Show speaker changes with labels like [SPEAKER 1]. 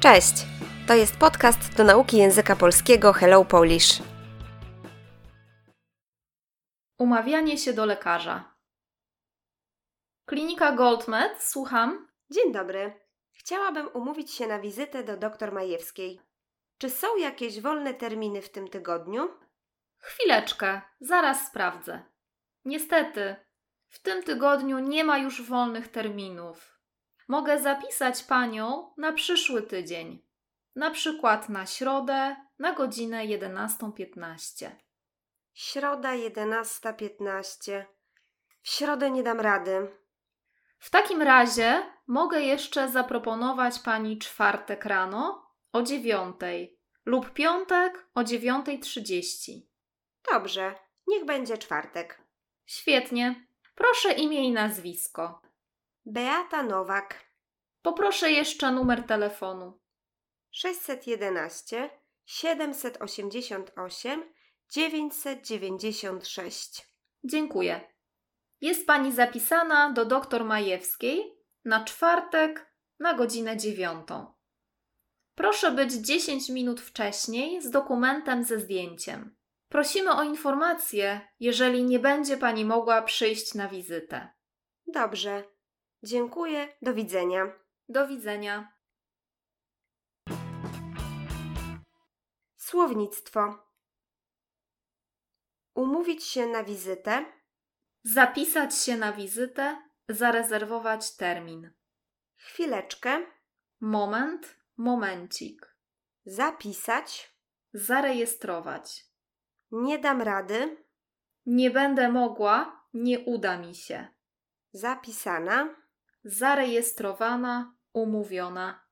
[SPEAKER 1] Cześć! To jest podcast do nauki języka polskiego Hello Polish.
[SPEAKER 2] Umawianie się do lekarza. Klinika Goldmed, słucham.
[SPEAKER 1] Dzień dobry. Chciałabym umówić się na wizytę do dr Majewskiej. Czy są jakieś wolne terminy w tym tygodniu?
[SPEAKER 2] Chwileczkę, zaraz sprawdzę. Niestety, w tym tygodniu nie ma już wolnych terminów. Mogę zapisać panią na przyszły tydzień. Na przykład na środę na godzinę 11.15.
[SPEAKER 1] Środa 11.15. W środę nie dam rady.
[SPEAKER 2] W takim razie mogę jeszcze zaproponować pani czwartek rano o 9.00 lub piątek o 9.30.
[SPEAKER 1] Dobrze, niech będzie czwartek.
[SPEAKER 2] Świetnie. Proszę imię i nazwisko.
[SPEAKER 1] Beata Nowak
[SPEAKER 2] Poproszę jeszcze numer telefonu.
[SPEAKER 1] 611 788 996.
[SPEAKER 2] Dziękuję. Jest pani zapisana do doktor Majewskiej na czwartek na godzinę dziewiątą. Proszę być 10 minut wcześniej z dokumentem ze zdjęciem. Prosimy o informację, jeżeli nie będzie pani mogła przyjść na wizytę.
[SPEAKER 1] Dobrze. Dziękuję. Do widzenia.
[SPEAKER 2] Do widzenia.
[SPEAKER 1] Słownictwo. Umówić się na wizytę,
[SPEAKER 2] Zapisać się na wizytę, zarezerwować termin.
[SPEAKER 1] chwileczkę,
[SPEAKER 2] Moment, momencik.
[SPEAKER 1] zapisać,
[SPEAKER 2] Zarejestrować.
[SPEAKER 1] nie dam rady,
[SPEAKER 2] Nie będę mogła, nie uda mi się.
[SPEAKER 1] zapisana,
[SPEAKER 2] Zarejestrowana, umówiona.